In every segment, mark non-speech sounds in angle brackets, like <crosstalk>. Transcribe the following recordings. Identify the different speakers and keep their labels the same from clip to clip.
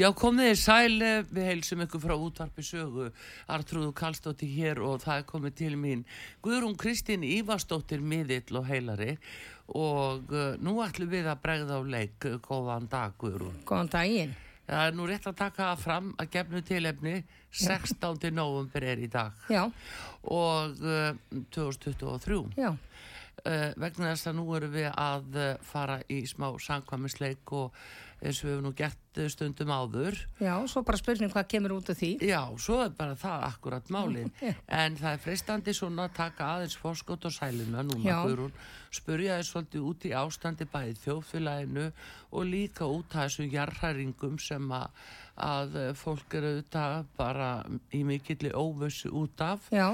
Speaker 1: Já, komið þið sæl, eh, við heilsum ykkur frá útvarpi sögu, Artrúðu Kallstóttir hér og það er komið til mín Guðrún Kristín Ívarsdóttir miðill og heilari og uh, nú ætlum við að bregða á leik, góðan dag Guðrún.
Speaker 2: Góðan daginn.
Speaker 1: Það er nú rétt að taka það fram að gefnu tilefni, 16. november er í dag
Speaker 2: Já,
Speaker 1: og uh, 2023
Speaker 2: já.
Speaker 1: uh, vegna þess að nú erum við að uh, fara í smá samkvæmisleik og eins og við höfum nú gert uh, stundum áður
Speaker 2: Já, svo bara spurning hvað kemur út af því.
Speaker 1: Já, svo er bara það akkurat málið
Speaker 2: Já.
Speaker 1: en það er freistandi svona að taka aðeins fórskot og sæluna núna
Speaker 2: Já.
Speaker 1: Guðrún spurja þess svolítið út í ástandi bæði þjóðfélaginu og líka út af þessum jarðhæringum sem að, að eh, fólk eru auðvitað bara í mikilli óvössu út af
Speaker 2: Já,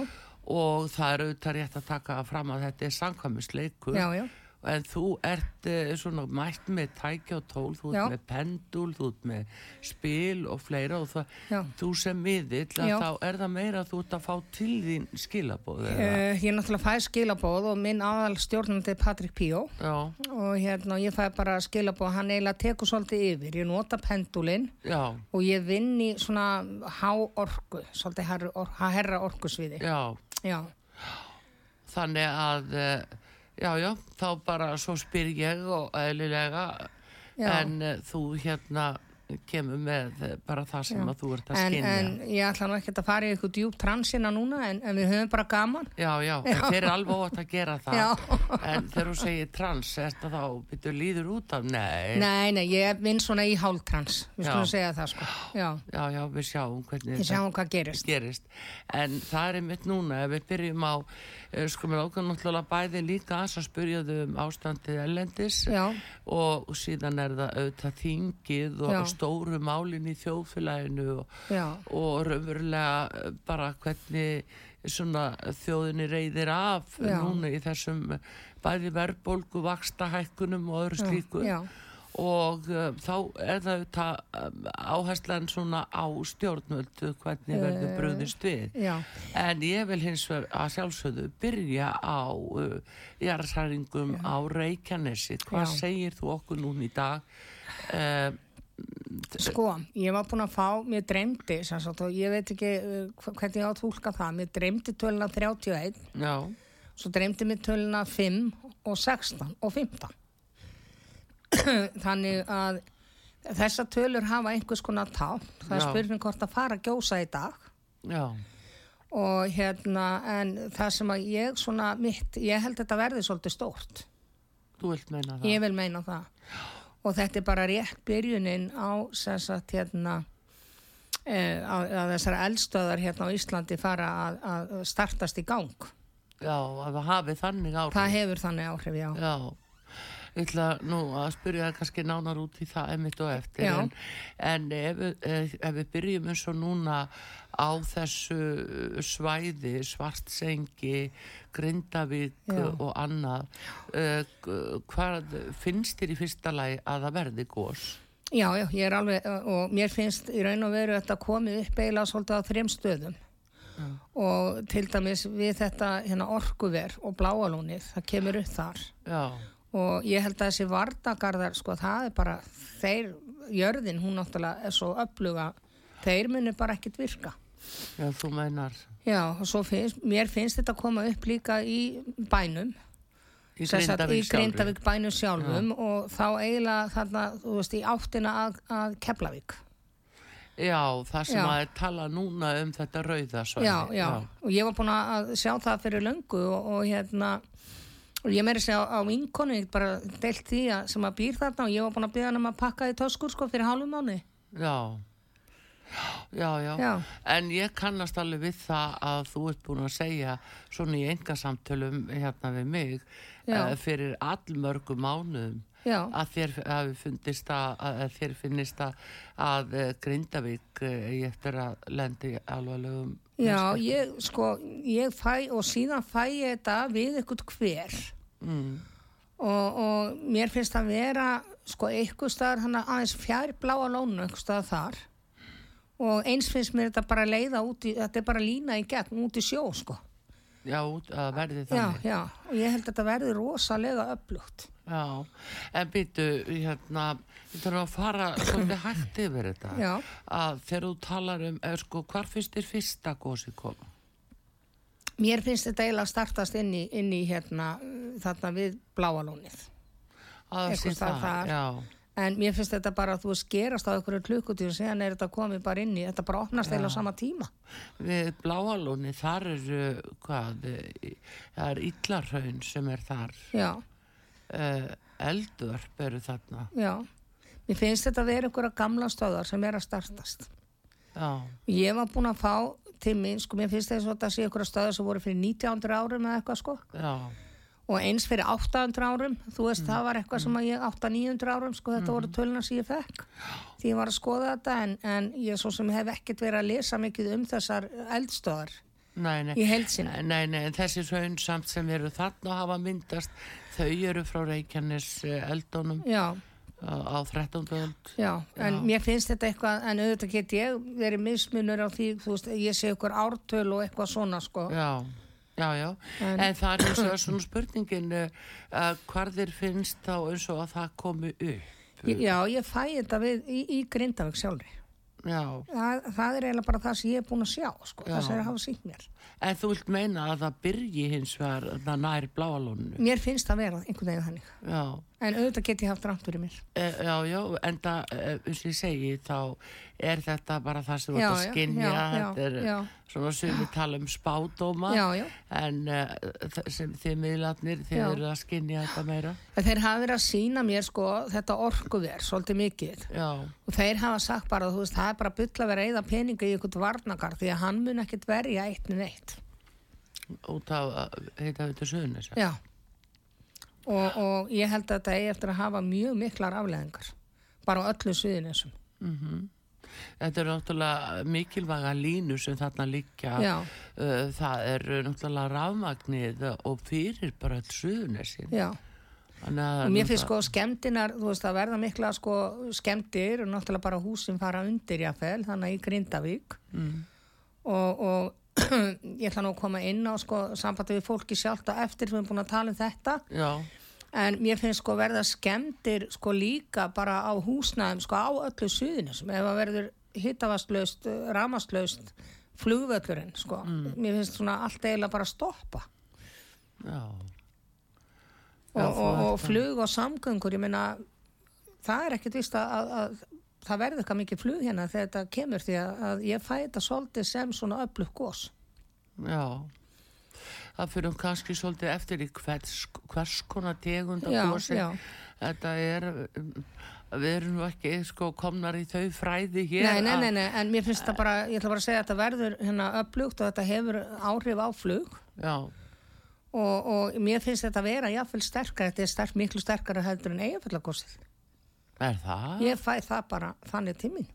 Speaker 1: og það er auðvitað rétt að taka fram að þetta er samkvæmisleikur
Speaker 2: já, já.
Speaker 1: En þú ert uh, svona mætt með tækja og tól, þú ert
Speaker 2: Já.
Speaker 1: með pendul, þú ert með spil og fleira og það,
Speaker 2: Já.
Speaker 1: þú sem miðill, að
Speaker 2: Já.
Speaker 1: þá er það meira að þú ert að fá til þín skilabóð eða?
Speaker 2: Uh, ég náttúrulega fæ skilabóð og minn aðal stjórnandi er Patrik Píó
Speaker 1: Já,
Speaker 2: og hérna ég fæ bara skilabóð, hann eiginlega tekur svolítið yfir. Ég nota pendulinn
Speaker 1: já,
Speaker 2: og ég vinn í svona há orku, svolítið herra, or, herra orkusviði.
Speaker 1: já,
Speaker 2: Já,
Speaker 1: þannig að, uh, já, já, þá bara svo spyr ég og eðlilega,
Speaker 2: Já.
Speaker 1: en uh, þú hérna kemur með eh, bara það sem að þú ert að
Speaker 2: en,
Speaker 1: skynja.
Speaker 2: en ég ætla nú ekkert að fara í eitthvað djúpt transina hérna núna en, en við höfum bara gaman.
Speaker 1: Já, já, já. þeir eru alveg ótt að gera það
Speaker 2: Já.
Speaker 1: En þegar þú segir trans Er það þá, byrju, líður út af? Nei.
Speaker 2: Nei, nei, ég vinn svona í hálftrans, við
Speaker 1: Já.
Speaker 2: skulum segja það sko. Já,
Speaker 1: Já, já, við sjáum hvernig
Speaker 2: ég sjáum hvað gerist.
Speaker 1: þetta gerist En það er einmitt núna Ef við byrjum á, eh, sko, mér ákveð náttúrulega bæði líka aðeins að spyrja þau um ástandið ellendis
Speaker 2: Já.
Speaker 1: og síðan er það auðvitað þingið og
Speaker 2: Já.
Speaker 1: stóru málin í þjóðfélaginu og,
Speaker 2: Já.
Speaker 1: og raunverulega eh, bara hvernig svona þjóðinni reyðir af
Speaker 2: Já.
Speaker 1: núna í þessum eh, bæði verðbólgu, vakstahækkunum og öðru slíku
Speaker 2: já.
Speaker 1: og uh, þá er það auðvitað um, áherslan svona á stjórnvöld hvernig verður
Speaker 2: Eh,
Speaker 1: brugðist við
Speaker 2: já.
Speaker 1: en ég vil hins vegar að sjálfsögðu byrja á uh, jarðsæringum á Reykjanesi hvað
Speaker 2: Já.
Speaker 1: segir þú okkur núna í dag uh,
Speaker 2: Sko, ég var búin að fá, mér dreymdi, sem sagt, og ég veit ekki uh, hva- hvernig ég á að tólka það, mér dreymdi töluna 31,
Speaker 1: já,
Speaker 2: svo dreymdi mér töluna 5 og 16 og 15. <clears throat> Þannig að þessar tölur hafa einhvers konar tá, það er
Speaker 1: Já.
Speaker 2: spurning hvort að fara að gjósa í dag
Speaker 1: já,
Speaker 2: og hérna, en það sem að ég svona mitt, ég held þetta verði svolítið stórt.
Speaker 1: þú vilt meina það
Speaker 2: Ég vil meina það. Og þetta er bara rétt byrjunin á sem sagt, hérna, eh, að, að þessar eldstöðar hérna á Íslandi fara að, að startast í gang.
Speaker 1: já, að það hafi þannig áhrif
Speaker 2: Það hefur þannig áhrif, já.
Speaker 1: Já, ég ætla nú að spyrja það kannski nánar út í það einmitt og eftir
Speaker 2: Já.
Speaker 1: en, en ef, við- eh, ef við byrjum eins og núna á þessu svæði, svartsengi, grindavík
Speaker 2: Já.
Speaker 1: og annað, uh, hvað finnst þér í fyrsta lagi að það verði gós?
Speaker 2: Já, já, ég er alveg, og mér finnst í raun og veru þetta komið upp eiginlega svolítið á þrem stöðum. Og til dæmis við þetta hérna orkuver og bláalónið, það kemur upp þar.
Speaker 1: Já,
Speaker 2: Og ég held að þessi vardagarðar, sko, það er bara, þeir, jörðin, hún náttúrulega er svo öfluga, þeir munu bara ekkit virka.
Speaker 1: já, þú meinar
Speaker 2: Já, og svo finnst, mér finnst þetta að koma upp líka í bænum,
Speaker 1: í
Speaker 2: sem sagt,
Speaker 1: grindavík
Speaker 2: í
Speaker 1: sjálfri.
Speaker 2: Grindavík bænum sjálfum og þá eiginlega þarna, þú veist, í áttina að, að Keflavík.
Speaker 1: Já, það sem
Speaker 2: Já.
Speaker 1: að er tala núna um þetta rauða svæði.
Speaker 2: Já, já, og ég var búin að sjá það fyrir löngu og, og hérna, og ég meiri segja á, á vinkonu, ég get bara deilt því að, sem að býr þarna og ég var búin að byggja hann um að pakka því töskur, sko, fyrir hálfum mánu.
Speaker 1: Já. Já, já,
Speaker 2: Já.
Speaker 1: en ég kannast alveg við það að þú ert búin að segja svona í enga samtölum hérna við mig
Speaker 2: Já.
Speaker 1: uh, fyrir allmörgum mánuðum
Speaker 2: Já.
Speaker 1: að þér hafi fundist að, að að þér finnist að, að eh, Grindavík eh, eigi eftir að lendi alvarlegum
Speaker 2: Já, ég sko, ég fæ og síðan fæ ég þetta við eitthvað hver
Speaker 1: mm,
Speaker 2: og, og mér finnst það vera sko eitthvað staðar hann aðeins fjær bláa lónu eitthvað staðar þar og eins finnst mér þetta bara leiða út í, þetta er bara lína í gegn út í sjó sko.
Speaker 1: já, út- að verði
Speaker 2: Já,
Speaker 1: þannig
Speaker 2: já, og ég held að þetta verði rosalega öflugt.
Speaker 1: Já, en býtu, hérna, við þurfum að fara svolítið hægt yfir þetta.
Speaker 2: Já.
Speaker 1: Að þegar þú talar um, er, sko, hvar finnst þér fyrsta gósi koma?
Speaker 2: Mér finnst þetta eiginlega startast inn í, inn í hérna, uh, þarna við bláa lónið.
Speaker 1: Að
Speaker 2: Einhvers
Speaker 1: sé
Speaker 2: staðar þar.
Speaker 1: já.
Speaker 2: En mér finnst þetta bara að þú veist gerast á einhverju klukkutíu og síðan er þetta komið bara inn í, þetta bara opnast eiginlega á sama tíma.
Speaker 1: Við Bláalóni, þar eru, hvað, eh, það er Íllarhaun sem er þar.
Speaker 2: Já,
Speaker 1: Uh, eldvörp eru þarna.
Speaker 2: já. Mér finnst þetta að vera einhverja gamla stöðar sem er að startast.
Speaker 1: Já,
Speaker 2: Ég var búin að fá til mín, sko, mér finnst þess að þetta sé einhverja stöðar sem voru fyrir 1900 árum eða eitthvað, sko.
Speaker 1: já,
Speaker 2: Og eins fyrir 800 árum, þú veist, það var eitthvað sem að ég, 800-900 árum, sko, þetta voru töluna sem ég fekk. Því ég var að skoða þetta, en, en ég svo sem hef ekkert verið að lesa mikið um þessar eldstöðar
Speaker 1: nei, nei.
Speaker 2: í heilsina.
Speaker 1: Nei, nei, en þessi hraun samt sem eru þarna og hafa myndast, þau eru frá Reykjanes eh, eldónum
Speaker 2: Já,
Speaker 1: á á 13. öld.
Speaker 2: Já, en
Speaker 1: Já.
Speaker 2: mér finnst þetta eitthvað, en auðvitað get ég verið mismunur á því, þú veist, ég sé ykkur ártöl og eitthvað svona, sko.
Speaker 1: Já, já, já. En,
Speaker 2: En-
Speaker 1: það er eins og svona spurningin uh, hvar þér finnst þá eins og að það komi upp.
Speaker 2: Ég- Já, ég fæ þetta við í, í Grindavík sjálfri.
Speaker 1: Já,
Speaker 2: Það, það er eiginlega bara það sem ég er búin að sjá, sko,
Speaker 1: Já.
Speaker 2: það sem er að hafa sínt mér.
Speaker 1: en þú vilt meina að það byrji hins vegar það nær bláalónu.
Speaker 2: Mér finnst það vera einhvern veginn þannig,
Speaker 1: Já,
Speaker 2: en auðvitað get ég haft rámt fyrir mér.
Speaker 1: e, já, já, en það, eh, eins og ég segi, þá er þetta bara það sem þetta
Speaker 2: Já, já,
Speaker 1: skinja,
Speaker 2: já, já,
Speaker 1: þetta er
Speaker 2: já.
Speaker 1: svona sem við tala um spádóma,
Speaker 2: Já, já.
Speaker 1: en uh, sem þið miðlarnir, þið
Speaker 2: Já.
Speaker 1: eru að skinja þetta meira.
Speaker 2: En Þeir hafa verið að sína mér, sko, þetta orkuver, svolítið mikið.
Speaker 1: Já,
Speaker 2: Og þeir hafa sagt bara, þú veist, það er bara bull að vera að eyða peninga í einhvern varnakar því að hann mun ekkit verja eitt en eitt.
Speaker 1: út af, eh, heita þetta suðunis.
Speaker 2: Já. Og, og ég held að þetta eigi eftir að hafa mjög miklar afleðingar. Bara á öllu suðinessum.
Speaker 1: Þetta eru náttúrulega mikilvæga línu sem þarna liggja.
Speaker 2: Já.
Speaker 1: Uh, Það eru náttúrulega rafmagnið og fyrir bara all suðunessin.
Speaker 2: Já. Og mér
Speaker 1: Mér
Speaker 2: finnst sko skemmtinar, þú veist, það verða mikla sko skemmtir og náttúrulega bara húsin fara undir jáfnvel, þannig að í Grindavík. Mm. Og, <clears throat> og ég ætla nú að koma inn á sko sambandi við fólki sjálft og eftir við erum búin að tala um þetta.
Speaker 1: Já,
Speaker 2: En mér finnst sko verða skemmtir sko líka bara á húsnæðum sko á öllu suðinu sem ef að verður hittavastlaust, ramastlaust flugvöllurinn sko. Mér finnst svona allt eiginlega bara stoppa.
Speaker 1: já.
Speaker 2: Og,
Speaker 1: Já,
Speaker 2: og, og flug og samgöngur, ég meina það er ekkert vist að, að, að það verður eitthvað mikið flug hérna þegar þetta kemur því að, að ég fæ þetta svolítið sem svona öflug gos.
Speaker 1: Já. Það fyrir kannski svolítið eftir í hvers, hvers konar tegund og
Speaker 2: Já,
Speaker 1: gósi.
Speaker 2: já.
Speaker 1: Þetta er, um, við erum nú ekki sko komnar í þau fræði hér.
Speaker 2: Nei, nei,
Speaker 1: að-
Speaker 2: nei, nei, en mér finnst það bara, ég ætla bara að segja að þetta verður hérna öflugt og þetta hefur áhrif á flug.
Speaker 1: Já,
Speaker 2: og, og mér finnst þetta að vera jáfnvel sterkar, þetta er sterk, miklu sterkara heldur en eigafellagosið.
Speaker 1: er það?
Speaker 2: Ég fæ það bara þannig tímin.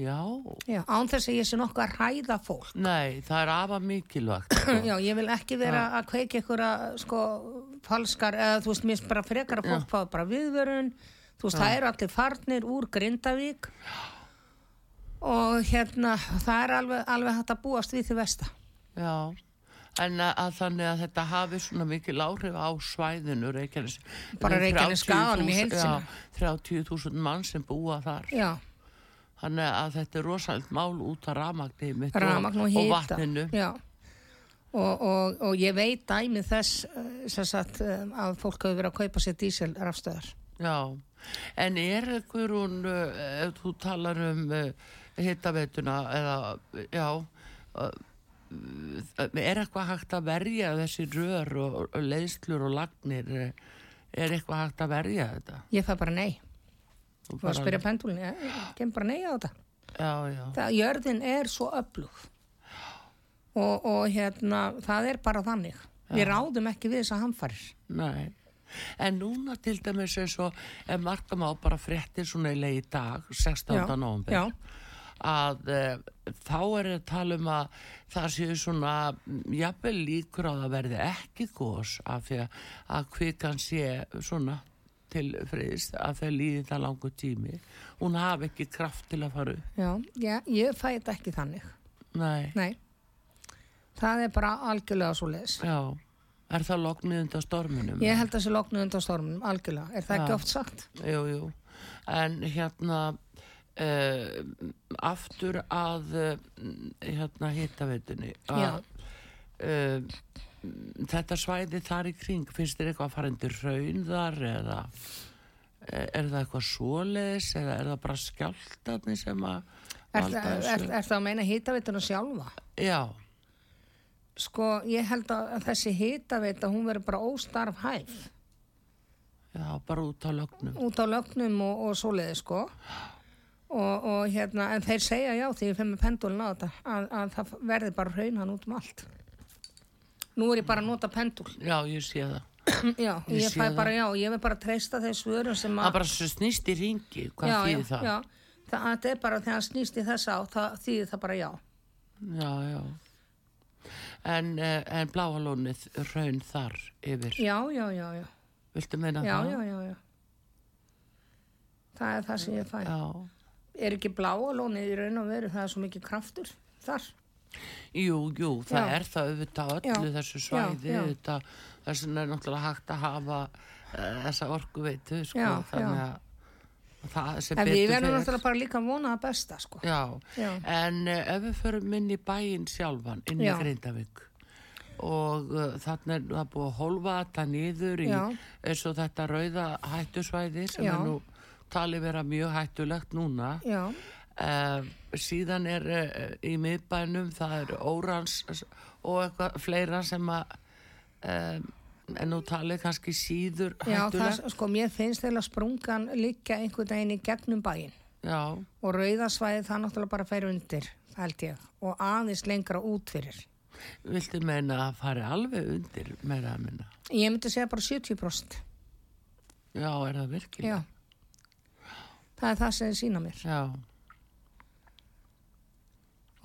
Speaker 1: Já.
Speaker 2: Já, án þess að ég sé nokkuð að hræða fólk.
Speaker 1: Nei, það er afa mikilvægt.
Speaker 2: <coughs>
Speaker 1: sko.
Speaker 2: Mm, Já, ég vil ekki vera að kveiki ykkur að sko falskar, eða þú veist, mér finnst bara frekar að fólk fáið bara viðvörun, þú veist, það eru allir farnir úr Grindavík og hérna, það er alveg, alveg hægt að búast við því vesta.
Speaker 1: Já, en að, að þannig að þetta hafi svona mikil áhrif á svæðinu Reykjanes.
Speaker 2: Bara Reykjanesskaganum í heild sinni.
Speaker 1: 30.000 mann sem búa þar.
Speaker 2: Já,
Speaker 1: Þannig að þetta er rosalt mál út af ramagni mitt
Speaker 2: ramagn og
Speaker 1: og,
Speaker 2: hýta
Speaker 1: og vatninu.
Speaker 2: já. Og, og, og ég veit dæmi þess eh, sem sagt, eh, að fólk hefur verið að kaupa sér dísel rafstöðar
Speaker 1: Já, en er einhver hún, eh, ef þú talar um uh, hittaveituna eða, já, uh, er eitthvað hægt að verja þessi rör og, og leiðslur og lagnir, eh, er eitthvað hægt að verja þetta?
Speaker 2: ég fæ bara nei,
Speaker 1: Þú
Speaker 2: þú var
Speaker 1: bara-
Speaker 2: að spyrja pendulin ég kem bara nei á þetta
Speaker 1: Já, já,
Speaker 2: það, jörðin er svo öflug og, og hérna það er bara þannig við ráðum ekki við þess að hamfarir
Speaker 1: nei, En núna til dæmis eins og ef marka má bara fréttir svona í leið í dag, 16.
Speaker 2: Já,
Speaker 1: november,
Speaker 2: já.
Speaker 1: að e, þá er að tala um að það séu svona mm, jafnvel líkur á að það verði ekki gos af því að- að kvikan sé svona til friðist að þau líði það langur tími. Hún hafi ekki kraft til að fara upp.
Speaker 2: já, já, ég fæ þetta ekki þannig.
Speaker 1: Nei,
Speaker 2: Nei, það er bara algjörlega svo leis.
Speaker 1: já. Er það loknið undan storminum?
Speaker 2: Ég held að þessi loknu undan storminum, algjörlega. Er það
Speaker 1: Já.
Speaker 2: ekki oft sagt?
Speaker 1: Jú, jú. En hérna uh, aftur að uh, hérna hittaveitunni
Speaker 2: Já.
Speaker 1: að uh, þetta svæði þar í kring finnst þér eitthvað farendur raun þar eða eh, er það eitthvað svoleiðis eða er það bara skjáltarni sem að
Speaker 2: Er,
Speaker 1: valda
Speaker 2: er, er,
Speaker 1: þessu?
Speaker 2: er það að meina hýtaveituna sjálfa?
Speaker 1: Já,
Speaker 2: Sko, ég held að að þessi hýtaveita, hún verður bara óstarfhæf
Speaker 1: já, bara út á lögnum
Speaker 2: út á lögnum og, og svoleiði, sko. Og, og hérna, en þeir segja já því ég fyrir með pendulin á þetta að, að það verði bara hraun hann út um allt. Nú er ég bara að nota pendul.
Speaker 1: Já, ég sé það
Speaker 2: <clears throat> já,
Speaker 1: Ég
Speaker 2: ég,
Speaker 1: sé
Speaker 2: fæ
Speaker 1: það.
Speaker 2: bara já, ég vil bara treysta þess vörum sem
Speaker 1: Það bara svo snýst í ringi, hvað
Speaker 2: já,
Speaker 1: þýðir
Speaker 2: já,
Speaker 1: það?
Speaker 2: Já, það þetta er bara þegar hann snýst í þessa á, það þýðir það bara já.
Speaker 1: Já, já. En, eh, en bláalónið raun þar yfir.
Speaker 2: Já, já, já, já,
Speaker 1: Viltu meina
Speaker 2: já,
Speaker 1: það?
Speaker 2: já, já, já. Það er það sem ég fæ.
Speaker 1: Já.
Speaker 2: Er ekki bláa lónið í raun og veru, það er svo mikið kraftur þar.
Speaker 1: Jú, jú, það
Speaker 2: Já.
Speaker 1: er það auðvitað á öllu
Speaker 2: Já,
Speaker 1: þessu svæði,
Speaker 2: já, já.
Speaker 1: auðvitað, þess vegna er náttúrulega hægt að hafa eh, þessa orkuveitu, sko,
Speaker 2: Já,
Speaker 1: þannig að það sem
Speaker 2: En
Speaker 1: betur
Speaker 2: við verðum
Speaker 1: fer-
Speaker 2: náttúrulega bara líka að vona það besta, sko.
Speaker 1: Já,
Speaker 2: Já.
Speaker 1: en uh, ef við förum inn í bæinn sjálfan, inn í
Speaker 2: Já.
Speaker 1: Grindavík og uh, þannig er það búið að holfa þetta niður í
Speaker 2: Já.
Speaker 1: eins og þetta rauða hættusvæði sem
Speaker 2: Já.
Speaker 1: er nú talið vera mjög hættulegt núna.
Speaker 2: Já,
Speaker 1: Uh, síðan er uh, í miðbænum það er órans og eitthvað fleira sem að uh, en nú talið kannski síður
Speaker 2: já það,
Speaker 1: hættulegt.
Speaker 2: sko, mér finnst þeirlega sprungan líka einhvern veginn í gegnum bæinn.
Speaker 1: Já,
Speaker 2: Og rauðasvæði það náttúrulega bara fer undir, held ég, og aðeins lengra út fyrir.
Speaker 1: viltu meina að fari alveg undir meira að minna?
Speaker 2: Ég myndi segja bara 70%.
Speaker 1: Já, er það virkilega?
Speaker 2: Já. Það er það sem þið sína mér.
Speaker 1: Já,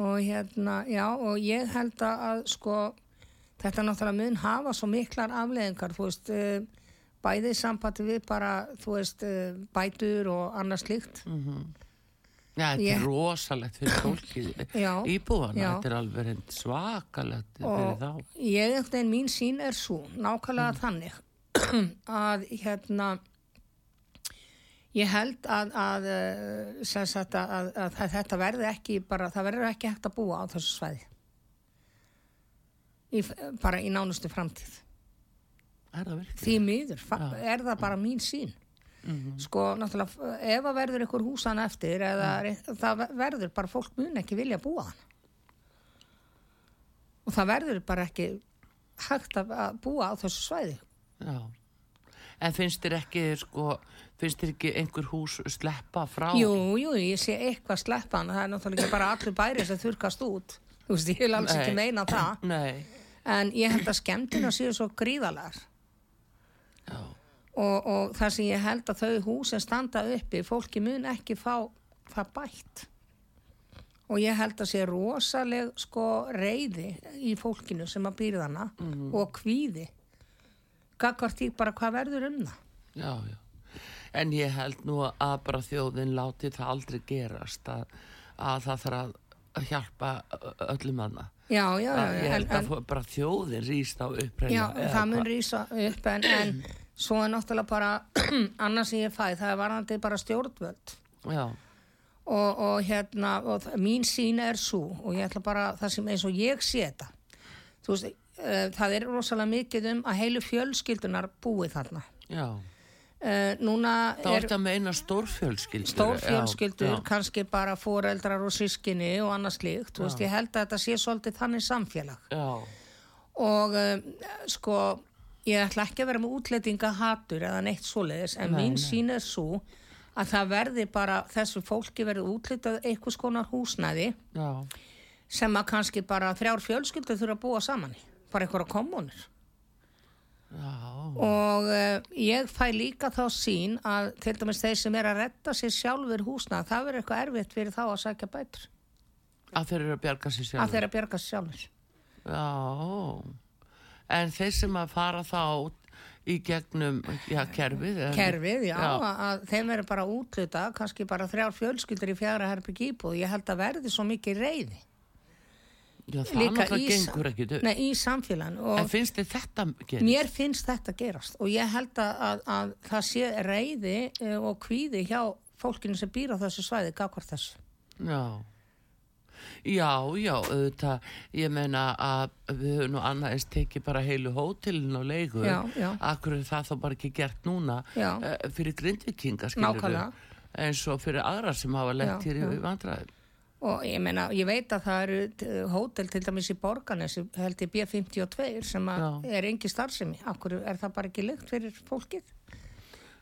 Speaker 2: Og hérna, já, og ég held að að, sko, þetta náttúrulega mun hafa svo miklar afleðingar, þú veist, eh, bæði í sambandi við bara, þú veist, eh, bætur og annað slíkt.
Speaker 1: já þetta
Speaker 2: Ég-
Speaker 1: er rosalegt fyrir fólkið
Speaker 2: <coughs> Já.
Speaker 1: íbúana,
Speaker 2: Já.
Speaker 1: þetta er alveg reynd svakalegt fyrir
Speaker 2: Og
Speaker 1: þá.
Speaker 2: ég, einhvern veginn, mín sín er svo, nákvæmlega þannig, <clears throat> að, hérna, Ég held að, að, eh, sem sagt, að, að, að þa- þetta verði ekki bara, það verður ekki hægt að búa á þessu svæði. Í, f- bara í nánustu framtíð.
Speaker 1: Er það virkilega?
Speaker 2: Því miður, fa- er það bara mín sín. Sko, náttúrulega, f- ef að verður ykkur húsan eftir, eða re- það ver- verður bara fólk mun ekki vilja búa hann. Og það verður bara ekki hægt að, að búa á þessu svæði.
Speaker 1: Já. En finnst þér ekki, sko, finnst þér ekki einhver hús sleppa frá?
Speaker 2: Jú, jú, ég sé eitthvað sleppan, það er náttúrulega ekki bara allir bæri sem þurkast út. Þú veist, ég vil alls ekki
Speaker 1: Nei.
Speaker 2: meina það.
Speaker 1: Nei,
Speaker 2: En ég held að skemmtina séu svo gríðalegar. Og, og það sem ég held að þau hús sem standa uppi, fólki mun ekki fá það bætt. Og ég held að sé rosaleg sko reyði í fólkinu sem að býrða hana
Speaker 1: Mhm.
Speaker 2: og kvíði. Gagvart því bara hvað verður um það.
Speaker 1: já, já. En ég held nú að bara þjóðin láti það aldrei gerast að, að það þarf að- að hjálpa ö- öllum anna.
Speaker 2: Já, já, já.
Speaker 1: Ég
Speaker 2: já,
Speaker 1: held að fó- bara þjóðin rýst á uppreina.
Speaker 2: Já, það mun rýsa upp en, en svo er náttúrulega bara <clears throat> annars sem ég fæ, það er varðandi bara stjórnvöld
Speaker 1: Já,
Speaker 2: og, og hérna, og þ- mín sín er svo og ég ætla bara það sem eins og ég sé þetta þú veist, uh, það er rosalega mikið um að heilu fjölskyldunar búi þarna
Speaker 1: já.
Speaker 2: uh, núna
Speaker 1: Þá
Speaker 2: er
Speaker 1: ertu að meina stórfjölskyldur.
Speaker 2: stór
Speaker 1: já,
Speaker 2: fjölskyldur,
Speaker 1: já.
Speaker 2: kannski bara foreldrar og sískinni og annars líkt, þú veist, ég held að þetta sé svolítið þannig samfélag
Speaker 1: Já,
Speaker 2: og um, sko ég ætla ekki að vera með útlendinga hatur eða neitt svoleiðis en mín sín er svo að það verði bara þessu fólki verði útlitað einhvers konar húsnæði
Speaker 1: já,
Speaker 2: sem að kannski bara þrjár fjölskyldur þurfa að búa saman í bara einhverja kommunur
Speaker 1: já,
Speaker 2: og uh, ég fæ líka þá sín að til dæmis þeir sem er að retta sér sjálfur húsna það verður eitthvað erfitt fyrir þá að sækja bætur
Speaker 1: að þeir eru að bjarga sér
Speaker 2: að
Speaker 1: sjálf.
Speaker 2: þeir að bjarga sér sjálfur
Speaker 1: Já, en þeir sem að fara þá í gegnum, já, kerfið. er-
Speaker 2: kerfið, já,
Speaker 1: Já.
Speaker 2: Að, að þeim verður bara útluta kannski bara þrjár fjölskyldur í fjara herbygg íbúð ég held að verði svo mikið reyði
Speaker 1: Já, það náttúrulega gengur ekki upp.
Speaker 2: nei, í samfélagin
Speaker 1: En
Speaker 2: og
Speaker 1: finnst þið þetta gerist?
Speaker 2: mér finnst þetta gerast og ég held að, að, að það sé reyði eh, og kvíði hjá fólkinu sem býr á þessu svæði gagvart þessu
Speaker 1: Já. Já, já, auðvitað, ég meina að við höfum nú annað eins tekið bara heilu hótelin á leigu.
Speaker 2: Já, já.
Speaker 1: Akkur er það þá bara ekki gert núna
Speaker 2: Já.
Speaker 1: eh, fyrir grindvikinga, skilur
Speaker 2: Nákvæmlega.
Speaker 1: Eins og fyrir aðra sem hafa lett
Speaker 2: Já,
Speaker 1: hér
Speaker 2: já.
Speaker 1: í vandræðum.
Speaker 2: Og ég meina, ég veit að það eru t- hótel til dæmis í Borganes, held ég B52 sem að
Speaker 1: Já.
Speaker 2: er engi starfsemi. Akkur er það bara ekki lykt fyrir fólkið?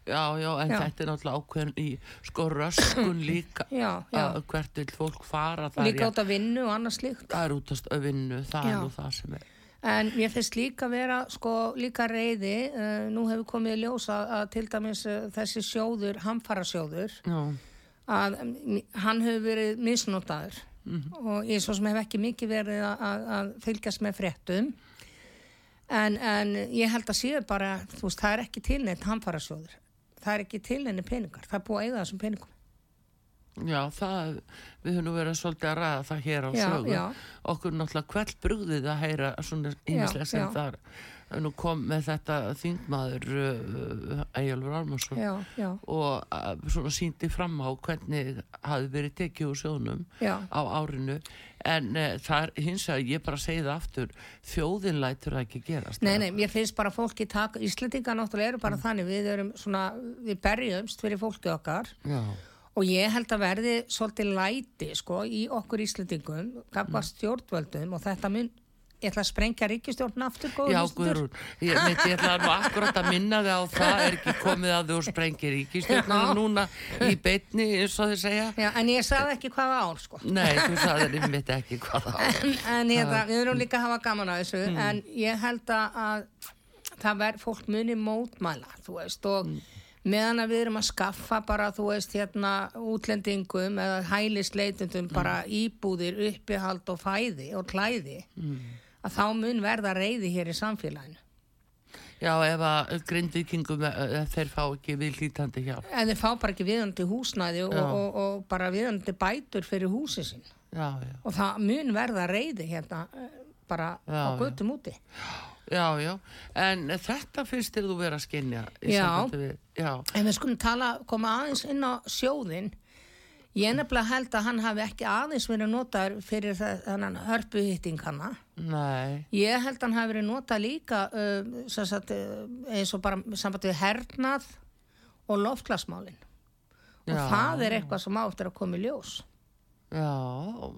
Speaker 1: Já, já, en
Speaker 2: Já.
Speaker 1: þetta er náttúrulega ákveðin í sko
Speaker 2: <coughs>
Speaker 1: röskun líka.
Speaker 2: Já, já.
Speaker 1: Að Hvert vil fólk fara það
Speaker 2: Líka
Speaker 1: er,
Speaker 2: út af vinnu og annað slíkt.
Speaker 1: það er út að stöfinnu, það
Speaker 2: Já.
Speaker 1: er nú það sem er.
Speaker 2: En mér finnst líka vera, sko, líka reyði, uh, nú hefur komið í ljós að, að til dæmis uh, þessi sjóður, hamfara sjóður,
Speaker 1: Já,
Speaker 2: að mm, hann hefur verið misnotaður og ég svo sem hef ekki mikið verið að, að, að fylgjast með fréttum en, en ég held að séu bara, þú veist, það er ekki tilneitt hamfarasjóður, það er ekki tilneinni peningar, það er búið að eiga þessum peningum
Speaker 1: já, það, við höfum nú verið svolítið að ræða það hér á
Speaker 2: Já,
Speaker 1: sögu.
Speaker 2: já.
Speaker 1: Okkur náttúrulega kveld brúðið að heyra svona ímislega sem
Speaker 2: já.
Speaker 1: þar. Nú kom með þetta þingmaður uh, Egilur Ármarsson
Speaker 2: já, já,
Speaker 1: og uh, svona síndi fram á hvernig hafi verið tekið úr sjónum
Speaker 2: já,
Speaker 1: á árinu en uh, það er hins að ég bara segi það aftur þjóðin lætur það ekki gerast
Speaker 2: nei, nei, ég finnst bara fólki tak, Íslendingar náttúrulega eru bara þannig við erum svona, við berjumst fyrir fólkið okkar
Speaker 1: Já,
Speaker 2: og ég held að verði svolítið læti sko í okkur Íslendingum gagvað
Speaker 1: Mm.
Speaker 2: stjórnvöldum og þetta mun ég ætla að sprengja ríkistjórn aftur góður
Speaker 1: já Guðrún, ég, mitt, ég ætla nú akkurat að minna þig á það, er ekki komið að þú sprengir ríkistjórnum
Speaker 2: Já.
Speaker 1: núna í beinni eins og þið segja.
Speaker 2: já, en ég sagði ekki hvaða ár sko <laughs>
Speaker 1: Nei, þú sagðir einmitt ekki hvað það Mm. á.
Speaker 2: en, en ég, það, við erum líka að hafa gaman að þessu en ég held að, að það verð fólk muni mótmæla þú veist og
Speaker 1: Mm.
Speaker 2: meðan að við erum að skaffa bara þú veist hérna útlendingum eða
Speaker 1: Mm.
Speaker 2: hælisleitundum bara íbúðir, uppihald og fæði og klæði
Speaker 1: Mm.
Speaker 2: að þá mun verða reyði hér í samfélaginu
Speaker 1: Já, ef að grindvikingum eh, þeir fá ekki viðlítandi hjálp.
Speaker 2: En þeir fá bara ekki viðandi húsnæði og,
Speaker 1: Já.
Speaker 2: og, og bara viðandi bætur fyrir húsi sín.
Speaker 1: Já, já.
Speaker 2: Og það mun verða reyði hérna eh, bara
Speaker 1: Já,
Speaker 2: á göttum úti.
Speaker 1: Já, já. En þetta finnst þér þú vera að skinja. í
Speaker 2: Já.
Speaker 1: sambandi Við, já.
Speaker 2: En við skulum tala, koma aðeins inn á sjóðin. Ég nefnilega held að hann hafi ekki aðeins verið notaður fyrir þe- þennan hörpuhitting hana.
Speaker 1: Nei.
Speaker 2: Ég held að hann hafi verið notað líka uh, sem sagt, uh, eins og bara samband við hernað og loftlasmálin. Og
Speaker 1: Já.
Speaker 2: það er eitthvað sem áttur að koma í ljós.
Speaker 1: Já.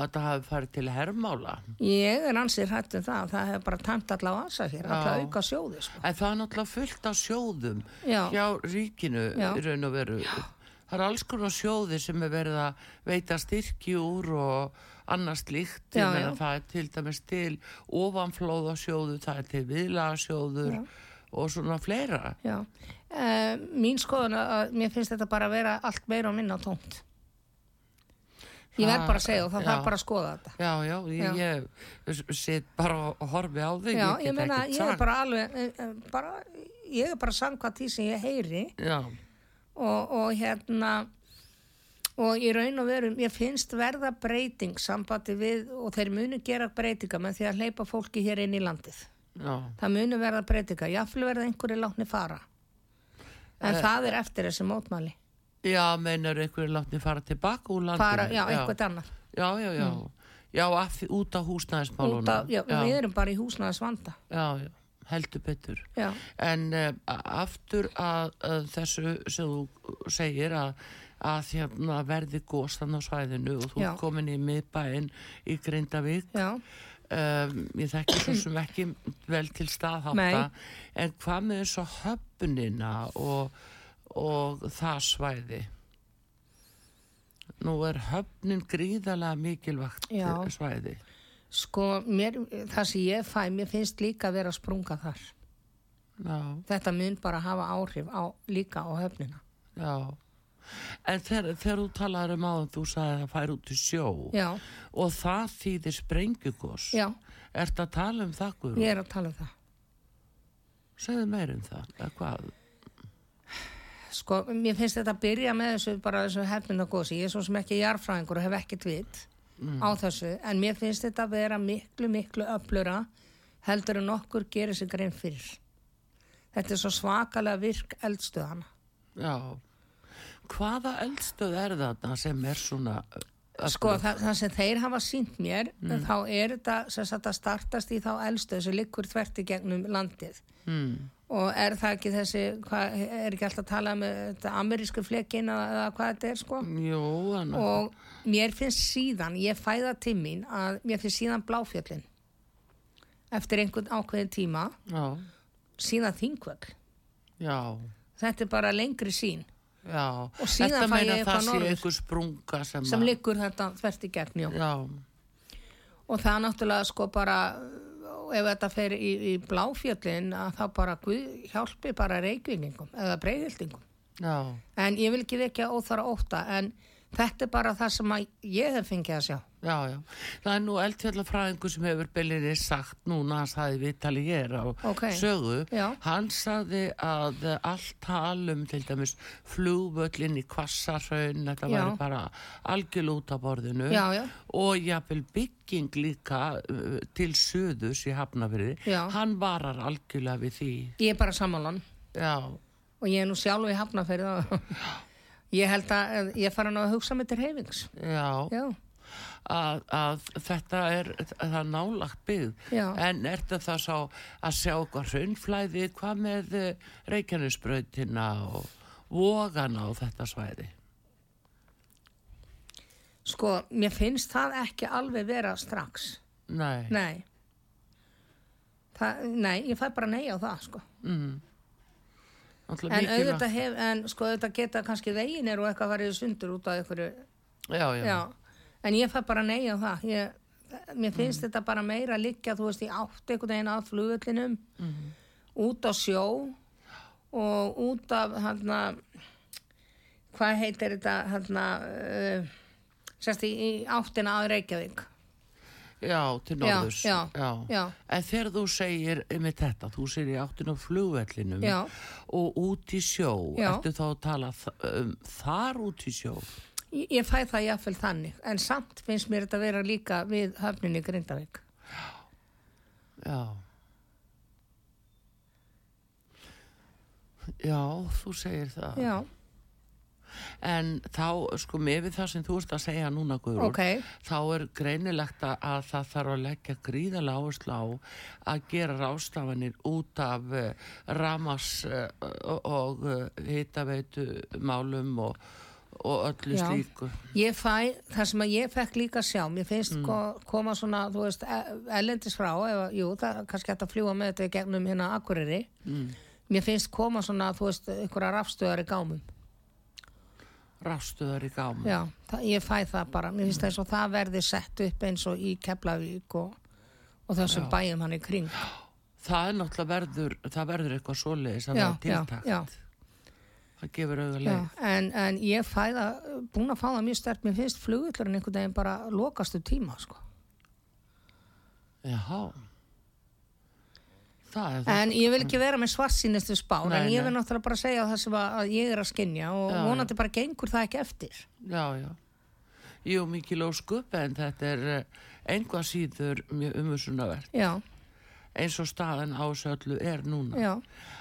Speaker 1: Að það hafi farið til hermála.
Speaker 2: Ég er ansið hrætt um það, það hefur bara tæmt alla vasa hér, alla
Speaker 1: Já.
Speaker 2: auka sjóði sko.
Speaker 1: En það er náttúrulega fullt af sjóðum
Speaker 2: Já.
Speaker 1: hjá ríkinu
Speaker 2: Já.
Speaker 1: í raun og veru. Það er alls konar sjóði sem er verið að veita styrki úr og annars líkt.
Speaker 2: Já,
Speaker 1: Ég meina
Speaker 2: já.
Speaker 1: það er til dæmis til ofanflóðasjóðu, það er til viðlagasjóður og svona fleira.
Speaker 2: Já, uh, mín skoðun að- að mér finnst þetta bara að vera allt meira og minna tómt. Ég verð
Speaker 1: Það-
Speaker 2: bara að segja og það
Speaker 1: já.
Speaker 2: þarf bara að skoða þetta.
Speaker 1: Já, já,
Speaker 2: Já.
Speaker 1: ég, ég set bara og horfi á þig,
Speaker 2: Já,
Speaker 1: ég
Speaker 2: ég
Speaker 1: get
Speaker 2: meina,
Speaker 1: ekkert
Speaker 2: ég er
Speaker 1: sagt.
Speaker 2: bara alveg, eh, eh, bara, ég er bara samkvæmt því sem ég heyri
Speaker 1: Já,
Speaker 2: og, og hérna, og í raun og veru, ég finnst verða breyting sambandi við, og þeir munu gera breytinga með því að hleypa fólki hér inn í landið.
Speaker 1: já,
Speaker 2: Það munu verða breytinga, jáfnvel verða einhverju látni fara. En það er eftir þessi mótmæli.
Speaker 1: já, meinar einhverju látni fara tilbaka úr landinu.
Speaker 2: Fara, já, eitthvað annað.
Speaker 1: Já, já, já. Já, af, því- út af húsnæðismálunum.
Speaker 2: Út af, já,
Speaker 1: já,
Speaker 2: við erum bara í húsnaðis vanda.
Speaker 1: já, já, heldur betur.
Speaker 2: Já,
Speaker 1: En uh, aftur að, að þessu sem þú segir að, að hérna verði góstan á svæðinu og þú
Speaker 2: Já.
Speaker 1: ert komin í miðbæinn í Grindavík.
Speaker 2: já.
Speaker 1: Um, ég þekki svo sem ekki vel til staðhátta.
Speaker 2: Nei.
Speaker 1: En hvað með eins og höfnina og, og það svæði? Nú er höfnin gríðarlega mikilvægt
Speaker 2: Já.
Speaker 1: svæði.
Speaker 2: sko, mér, það sem ég fæ, mér finnst líka að vera að sprunga þar.
Speaker 1: já,
Speaker 2: Þetta mun bara hafa áhrif á, líka á höfnina.
Speaker 1: já. En þegar, þegar þú talaður um áðan, þú sagði að það fær út í sjó
Speaker 2: Já,
Speaker 1: og það þýðir sprengjugos.
Speaker 2: já,
Speaker 1: Ertu að tala um það, Guðrún?
Speaker 2: ég er að tala um það.
Speaker 1: Segðu meir um það, eða hvað?
Speaker 2: Sko, mér finnst þetta að byrja með þessu bara þessu hefnina gósi. Ég er svo sem ekki jarfræðingur og hef ekkert vit á þessu. En mér finnst þetta að vera miklu, miklu öflura heldur en okkur gerir sig grein fyrir. Þetta er svo svakalega virk eldstöðana.
Speaker 1: Já. Hvaða eldstöð er þarna sem er svona... ö-
Speaker 2: Sko,
Speaker 1: öflug?
Speaker 2: það, það sem þeir hafa sínt mér, þá er þetta sem sagt að startast í þá eldstöð sem liggur þvert í gegnum landið.
Speaker 1: Mm.
Speaker 2: Og er það ekki þessi, hvað, er ekki alltaf að tala um eh, þetta amerísku flekin eða eða hvað þetta er, sko?
Speaker 1: Jú, hann...
Speaker 2: og mér finnst síðan ég fæða til mín að mér finnst síðan bláfjöllin eftir einhvern ákveðin tíma
Speaker 1: Já,
Speaker 2: síðan þingvöll
Speaker 1: já,
Speaker 2: þetta er bara lengri sín
Speaker 1: já.
Speaker 2: Og síðan
Speaker 1: Þetta
Speaker 2: fæ
Speaker 1: meina
Speaker 2: ég
Speaker 1: það
Speaker 2: eitthvað
Speaker 1: sé
Speaker 2: norður.
Speaker 1: einhver sprunga sem...
Speaker 2: sem
Speaker 1: að-
Speaker 2: liggur þetta þvert í gegn já.
Speaker 1: Já,
Speaker 2: og það er náttúrulega sko bara ef þetta fer í, í bláfjöllin að þá bara guð, hjálpi bara reykvingum eða breyðildingum
Speaker 1: já,
Speaker 2: en ég vil ekki vekja óþara óta en þetta er bara það sem að ég hef fengið að sjá
Speaker 1: já, já. Það er nú eldfjallafræðingur sem hefur belinni sagt núna, hann sagði Vitali hér á
Speaker 2: Ókei.
Speaker 1: sögu.
Speaker 2: Já.
Speaker 1: Hann sagði að allt talum, til dæmis flugvöllin í Kvassarhraun, þetta
Speaker 2: Já.
Speaker 1: væri bara algjörl út af borðinu.
Speaker 2: já, já,
Speaker 1: og jafnvel bygging líka uh, til söðus í Hafnafriði
Speaker 2: Já.
Speaker 1: hann varar algjörlega við því
Speaker 2: ég er bara sammálan
Speaker 1: já,
Speaker 2: og ég er nú sjálf í hafnafyrir það. Ég held að ég fara nú að hugsa mig til reyfings.
Speaker 1: já,
Speaker 2: Já,
Speaker 1: Að, að þetta er að það er nálagt byggð
Speaker 2: Já.
Speaker 1: en er þetta það sá að sjá eitthvað hraunflæði, hvað með reikjarnisbrautina og vogana á þetta svæði
Speaker 2: sko, mér finnst það ekki alveg vera strax.
Speaker 1: nei,
Speaker 2: Nei. Það, nei, ég fæ bara nei á það, sko.
Speaker 1: Mm. Náttúrulega
Speaker 2: En
Speaker 1: mikilvægt-
Speaker 2: auðvitað hef, en sko, auðvitað geta kannski veginir og eitthvað farið í sundur út af ykkur,
Speaker 1: já, já,
Speaker 2: já. En ég fæ bara nei á það. Ég, mér
Speaker 1: Mm.
Speaker 2: finnst þetta bara meira að liggja, þú veist, í átt einhvern veginn að flugullinum,
Speaker 1: Mhm.
Speaker 2: út á sjó og út af, hérna, hvað heitir þetta, hérna, uh, sérst í, í áttina að Reykjavík.
Speaker 1: já, til norðurs
Speaker 2: já, já.
Speaker 1: En þegar þú segir með þetta, þú segir í áttinu á flugvellinum
Speaker 2: Já.
Speaker 1: og út í sjó,
Speaker 2: Já.
Speaker 1: ertu þá að tala þ- um þar út í sjó?
Speaker 2: Ég, ég fæ það jáfnvel þannig, en samt finnst mér þetta vera líka við höfninni Grindavík.
Speaker 1: Já. Já, þú segir það.
Speaker 2: Já,
Speaker 1: En þá, sko, með við það sem þú ert að segja núna, Guðrún,
Speaker 2: ok,
Speaker 1: þá er greinilegt að- að það þarf að leggja gríðarlega áherslu á að gera rástafanir út af uh, ramas uh, og uh, hitaveitu málum og, og öllu
Speaker 2: Já.
Speaker 1: slíku.
Speaker 2: ég fæ, það sem að ég fekk líka að sjá, mér finnst mm. koma svona, þú veist, e- erlendis frá, eða, jú, það er kannski hægt að fljúa með þetta í gegnum hérna Akureyri,
Speaker 1: Mm.
Speaker 2: mér finnst koma svona, þú veist, einhverja rafstöðar í gámum.
Speaker 1: Rástuðar í gáma.
Speaker 2: Já, það, ég fæ það bara, mér finnst það eins og það verði sett upp eins og í Keflavík og, og þessum bæjum hann í kring.
Speaker 1: Það er náttúrulega verður, það verður eitthvað svoleiðis að
Speaker 2: Já,
Speaker 1: það er
Speaker 2: já,
Speaker 1: tiltakt.
Speaker 2: já.
Speaker 1: Það gefur auðvitað
Speaker 2: Já,
Speaker 1: leið.
Speaker 2: en, en ég fæ það, búin að fá það mjög stert, mér finnst flugullurinn einhvern veginn bara lokastu tíma, sko.
Speaker 1: Jaha. Það er það.
Speaker 2: En ég vil ekki vera með svartsýnistu spár,
Speaker 1: Nei,
Speaker 2: en ég
Speaker 1: nei.
Speaker 2: vil náttúrulega bara segja það sem að, að ég er að skinja og
Speaker 1: Já,
Speaker 2: vonandi bara gengur það ekki eftir.
Speaker 1: Já, já. Jú, mikið lóskup en þetta er eh, einhvað síður mjög umhersunavert.
Speaker 2: Já,
Speaker 1: eins og staðan á þessu öllu er núna.
Speaker 2: já,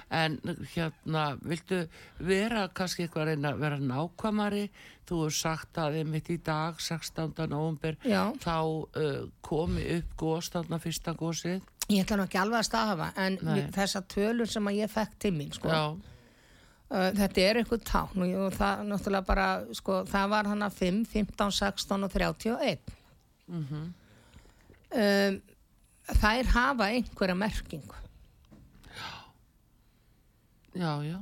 Speaker 1: En hérna, viltu vera kannski eitthvað að reyna að vera nákvæmari? Þú hefur sagt að einmitt í dag, 16. november,
Speaker 2: já.
Speaker 1: þá uh, komi upp góðstandna fyrsta góðsið.
Speaker 2: Ég ætla nú ekki alveg að staðhafa, en
Speaker 1: Nei.
Speaker 2: ég- þessar tölur sem að ég fekk til mín, sko,
Speaker 1: Já,
Speaker 2: uh, þetta er eitthvað tán og, ég- og það náttúrulega bara, sko, það var hann að 5, 15, 16 og 31. Mhm. um, þær hafa einhverja merkingu.
Speaker 1: já, já,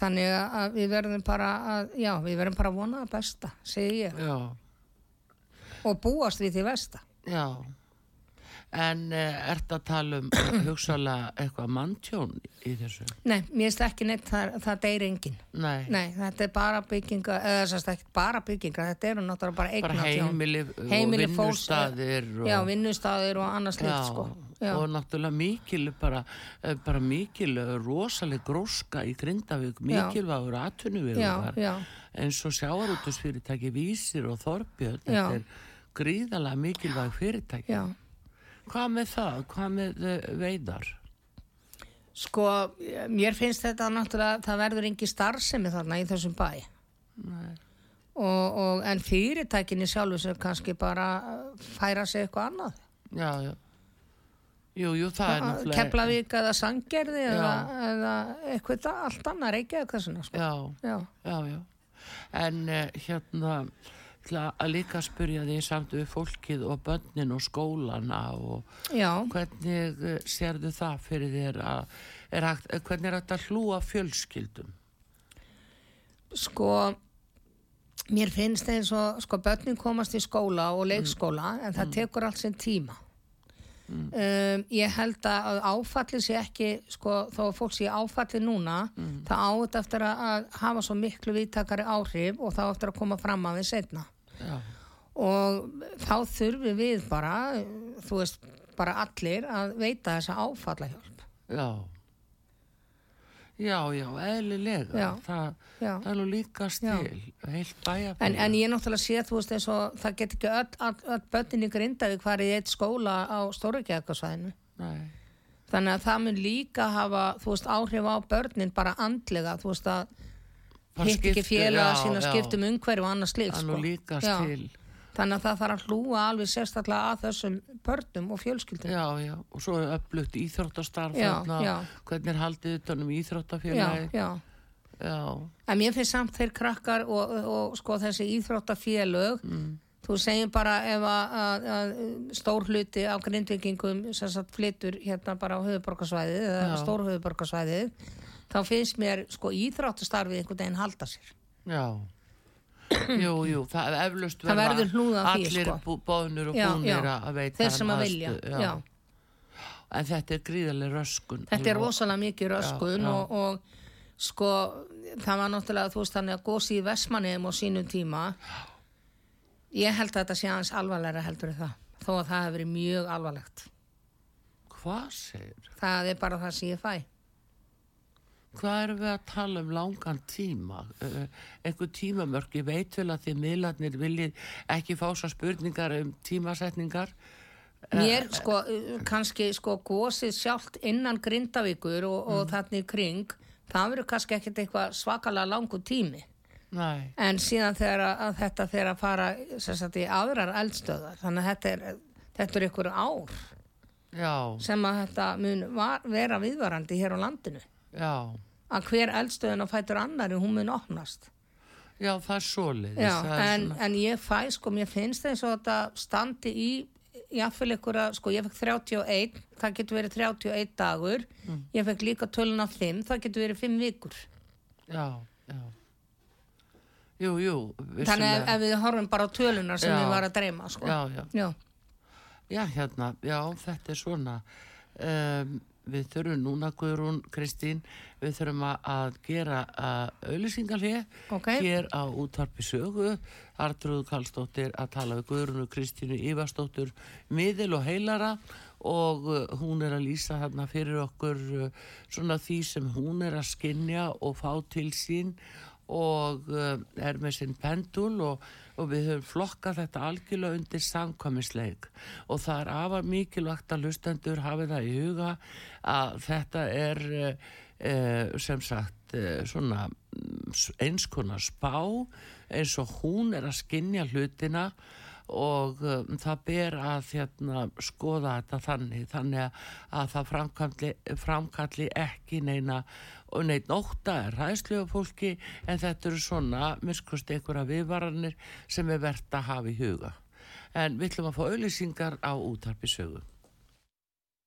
Speaker 2: Þannig að við verðum bara að, já, við verðum bara að vona að besta, segi ég,
Speaker 1: já,
Speaker 2: og búast við því besta.
Speaker 1: já. en uh, ert að tala um hugsalega eitthvað manntjón í þessu?
Speaker 2: Nei, mér finnst ekki neitt, það, það deyr enginn.
Speaker 1: Nei,
Speaker 2: Nei, þetta er bara bygginga, eða þess að ekki bara bygginga, þetta eru náttúrulega bara
Speaker 1: bara
Speaker 2: eigna
Speaker 1: heimili,
Speaker 2: Heimili
Speaker 1: og
Speaker 2: fólks,
Speaker 1: vinnustaðir og,
Speaker 2: Já, vinnustaðir og annars
Speaker 1: Já,
Speaker 2: líkt, sko. Já.
Speaker 1: og náttúrulega mikil bara, eh, bara mikil eh, rosaleg gróska í Grindavík
Speaker 2: Já.
Speaker 1: mikilvægur
Speaker 2: Já,
Speaker 1: atvinnuvegur
Speaker 2: já,
Speaker 1: eins og sjáarútusfyrirtæki Vísir og Þorbjörn þetta
Speaker 2: Já.
Speaker 1: er gríðalega mikilvæg fyrirtæki
Speaker 2: já.
Speaker 1: hvað með það, hvað með eh, veiðar
Speaker 2: Sko, mér finnst þetta náttúrulega, það verður engi starfsemi þarna í þessum bæ. Nei. Og, og, en fyrirtækinni sjálfu sem kannski bara uh, færa sig eitthvað annað.
Speaker 1: já, já jú, jú, það er náttúrulega
Speaker 2: Keflavík eða Sangerði eða, eða eitthvað da- allt annað, Reykjavík þess vegna, sko.
Speaker 1: já,
Speaker 2: Já,
Speaker 1: já, já. En eh, hérna, ætla að líka spyrja því samt við fólkið og börnin og skólana og
Speaker 2: já.
Speaker 1: hvernig eh, sérðu það fyrir þér að, er hægt, eh, hvernig er hægt að hlúa fjölskyldum?
Speaker 2: sko, mér finnst eins og, sko, börnin komast í skóla og leikskóla, en það tekur allt sinn tíma. Um, ég held að áfallið sé ekki, sko, þó að fólk sé í áfallið núna, það á þetta eftir að, að hafa svo miklu vittakari áhrif og þá eftir að koma fram að þeir setna.
Speaker 1: Já,
Speaker 2: og þá þurfum við bara, þú veist, bara allir að veita þessa áfallahjálp.
Speaker 1: já. Já, já, eðlilega.
Speaker 2: Já.
Speaker 1: Það,
Speaker 2: Já.
Speaker 1: það er nú líkast
Speaker 2: Já.
Speaker 1: til, heilt bæjafélag.
Speaker 2: En, en ég náttúrulega sé, þú veist, eins og það get ekki öll, öll, öll börnin í Grindavík farið í eitt skóla á Stórugjækarsvæðinu.
Speaker 1: Nei,
Speaker 2: Þannig að það mun líka hafa, þú veist, áhrif á börnin bara andlega, þú veist, að
Speaker 1: Bara
Speaker 2: hitt ekki
Speaker 1: skipti-
Speaker 2: félaga
Speaker 1: já,
Speaker 2: sína,
Speaker 1: já.
Speaker 2: skiptum umhverju og annað slíkt,
Speaker 1: það er
Speaker 2: sko.
Speaker 1: nú líkast
Speaker 2: Já.
Speaker 1: til.
Speaker 2: Þannig að það þarf að hlúa alveg sérstaklega að þessum börnum og fjölskyldum.
Speaker 1: Já, já, og svo er upplutt íþróttastarf
Speaker 2: Já,
Speaker 1: þarna,
Speaker 2: já.
Speaker 1: hvernig er haldið um utanum
Speaker 2: já,
Speaker 1: íþróttafélagi
Speaker 2: já.
Speaker 1: Já,
Speaker 2: En mér finnst samt þeir krakkar og, og sko þessi íþróttafélög,
Speaker 1: Mm.
Speaker 2: þú segir bara ef að, að, að stór hluti á grindvikingum sem sagt flyttur hérna bara á höfuborgarsvæðið eða stór höfuborgarsvæðið, þá finnst mér sko íþróttastarfið einhvern veginn halda sér.
Speaker 1: já. Jú, jú, það er eflust
Speaker 2: Það
Speaker 1: verða
Speaker 2: verður hlúð að því,
Speaker 1: allir
Speaker 2: sko.
Speaker 1: bú, bóðnir og
Speaker 2: Já,
Speaker 1: búnir
Speaker 2: já.
Speaker 1: að að veita
Speaker 2: Þeir sem
Speaker 1: um
Speaker 2: að
Speaker 1: aðstu-
Speaker 2: vilja, já.
Speaker 1: En þetta er gríðarlega röskun.
Speaker 2: Þetta er
Speaker 1: alveg.
Speaker 2: rosalega mikið röskun
Speaker 1: já.
Speaker 2: Og, og sko það var náttúrulega þú veist þannig að gósi í Vestmanniðum á sínum tíma. Ég held að þetta sé aðeins alvarlega heldur en það, þó að það hefur verið mjög alvarlegt.
Speaker 1: Hvað segir?
Speaker 2: Það er bara það sem ég fæ.
Speaker 1: Eh, Hvað erum við að tala um langan tíma? Uh, einhver tímamörk, ég veit vel að þið miðlarnir viljið ekki fá svo spurningar um tímasetningar. eh.
Speaker 2: Mér sko, uh, kannski sko gósið sjálft innan grindavíkur og, og
Speaker 1: Mm.
Speaker 2: þannig í kring, það verður kannski ekkert eitthvað svakalega langu tími.
Speaker 1: Nei,
Speaker 2: En síðan þegar að, að þetta þegar að fara sem sagt í aðrar eldstöðar, þannig að þetta er, þetta er ykkur ár
Speaker 1: já,
Speaker 2: sem að þetta mun var, vera viðvarandi hér á landinu.
Speaker 1: já.
Speaker 2: Að hver eldstöðin á fætur annari, hún mun opnast.
Speaker 1: Já, það er svoleiðis.
Speaker 2: Já,
Speaker 1: það er
Speaker 2: en,
Speaker 1: svona-
Speaker 2: en ég fæ sko, mér finnst eins og þetta standi í jáfnvel ykkur að, sko, ég fekk 31 það getur verið 31 dagur
Speaker 1: Mm.
Speaker 2: ég fekk líka töluna 5 það getur verið 5 vikur
Speaker 1: Já, já. Jú, jú,
Speaker 2: þannig að ef við horfum bara á töluna sem
Speaker 1: Já.
Speaker 2: við var að dreyma, sko
Speaker 1: Já, já.
Speaker 2: Já.
Speaker 1: Já, hérna, já, þetta er svona. Um, við þurfum núna, Guðrún, Kristín, við þurfum að- að gera auðlýsingarlið
Speaker 2: Ok.
Speaker 1: hér á útvarpi sögu. Artrúðu Karlsdóttir að tala við Guðrún og Kristínu Ívarsdóttur miðil og heilara og uh, hún er að lýsa hérna fyrir okkur uh, svona því sem hún er að skinja og fá til sín og uh, er með sinn pendul og, og við höfum flokkað þetta algjörlega undir samkvæmisleik og það er afar mikilvægt að lustendur hafi það í huga að þetta er uh, uh, sem sagt uh, svona mm, s- eins konar spá eins og hún er að skinja hlutina og um, það ber að hérna, skoða þetta þannig þannig að- að það framkalli, framkalli ekki neina og neitt nótta er ræðslega fólki en þetta eru svona miskust einhverja viðvaranir sem er verðt að hafa í huga en við ætlum að fá auðlýsingar á útarpisögu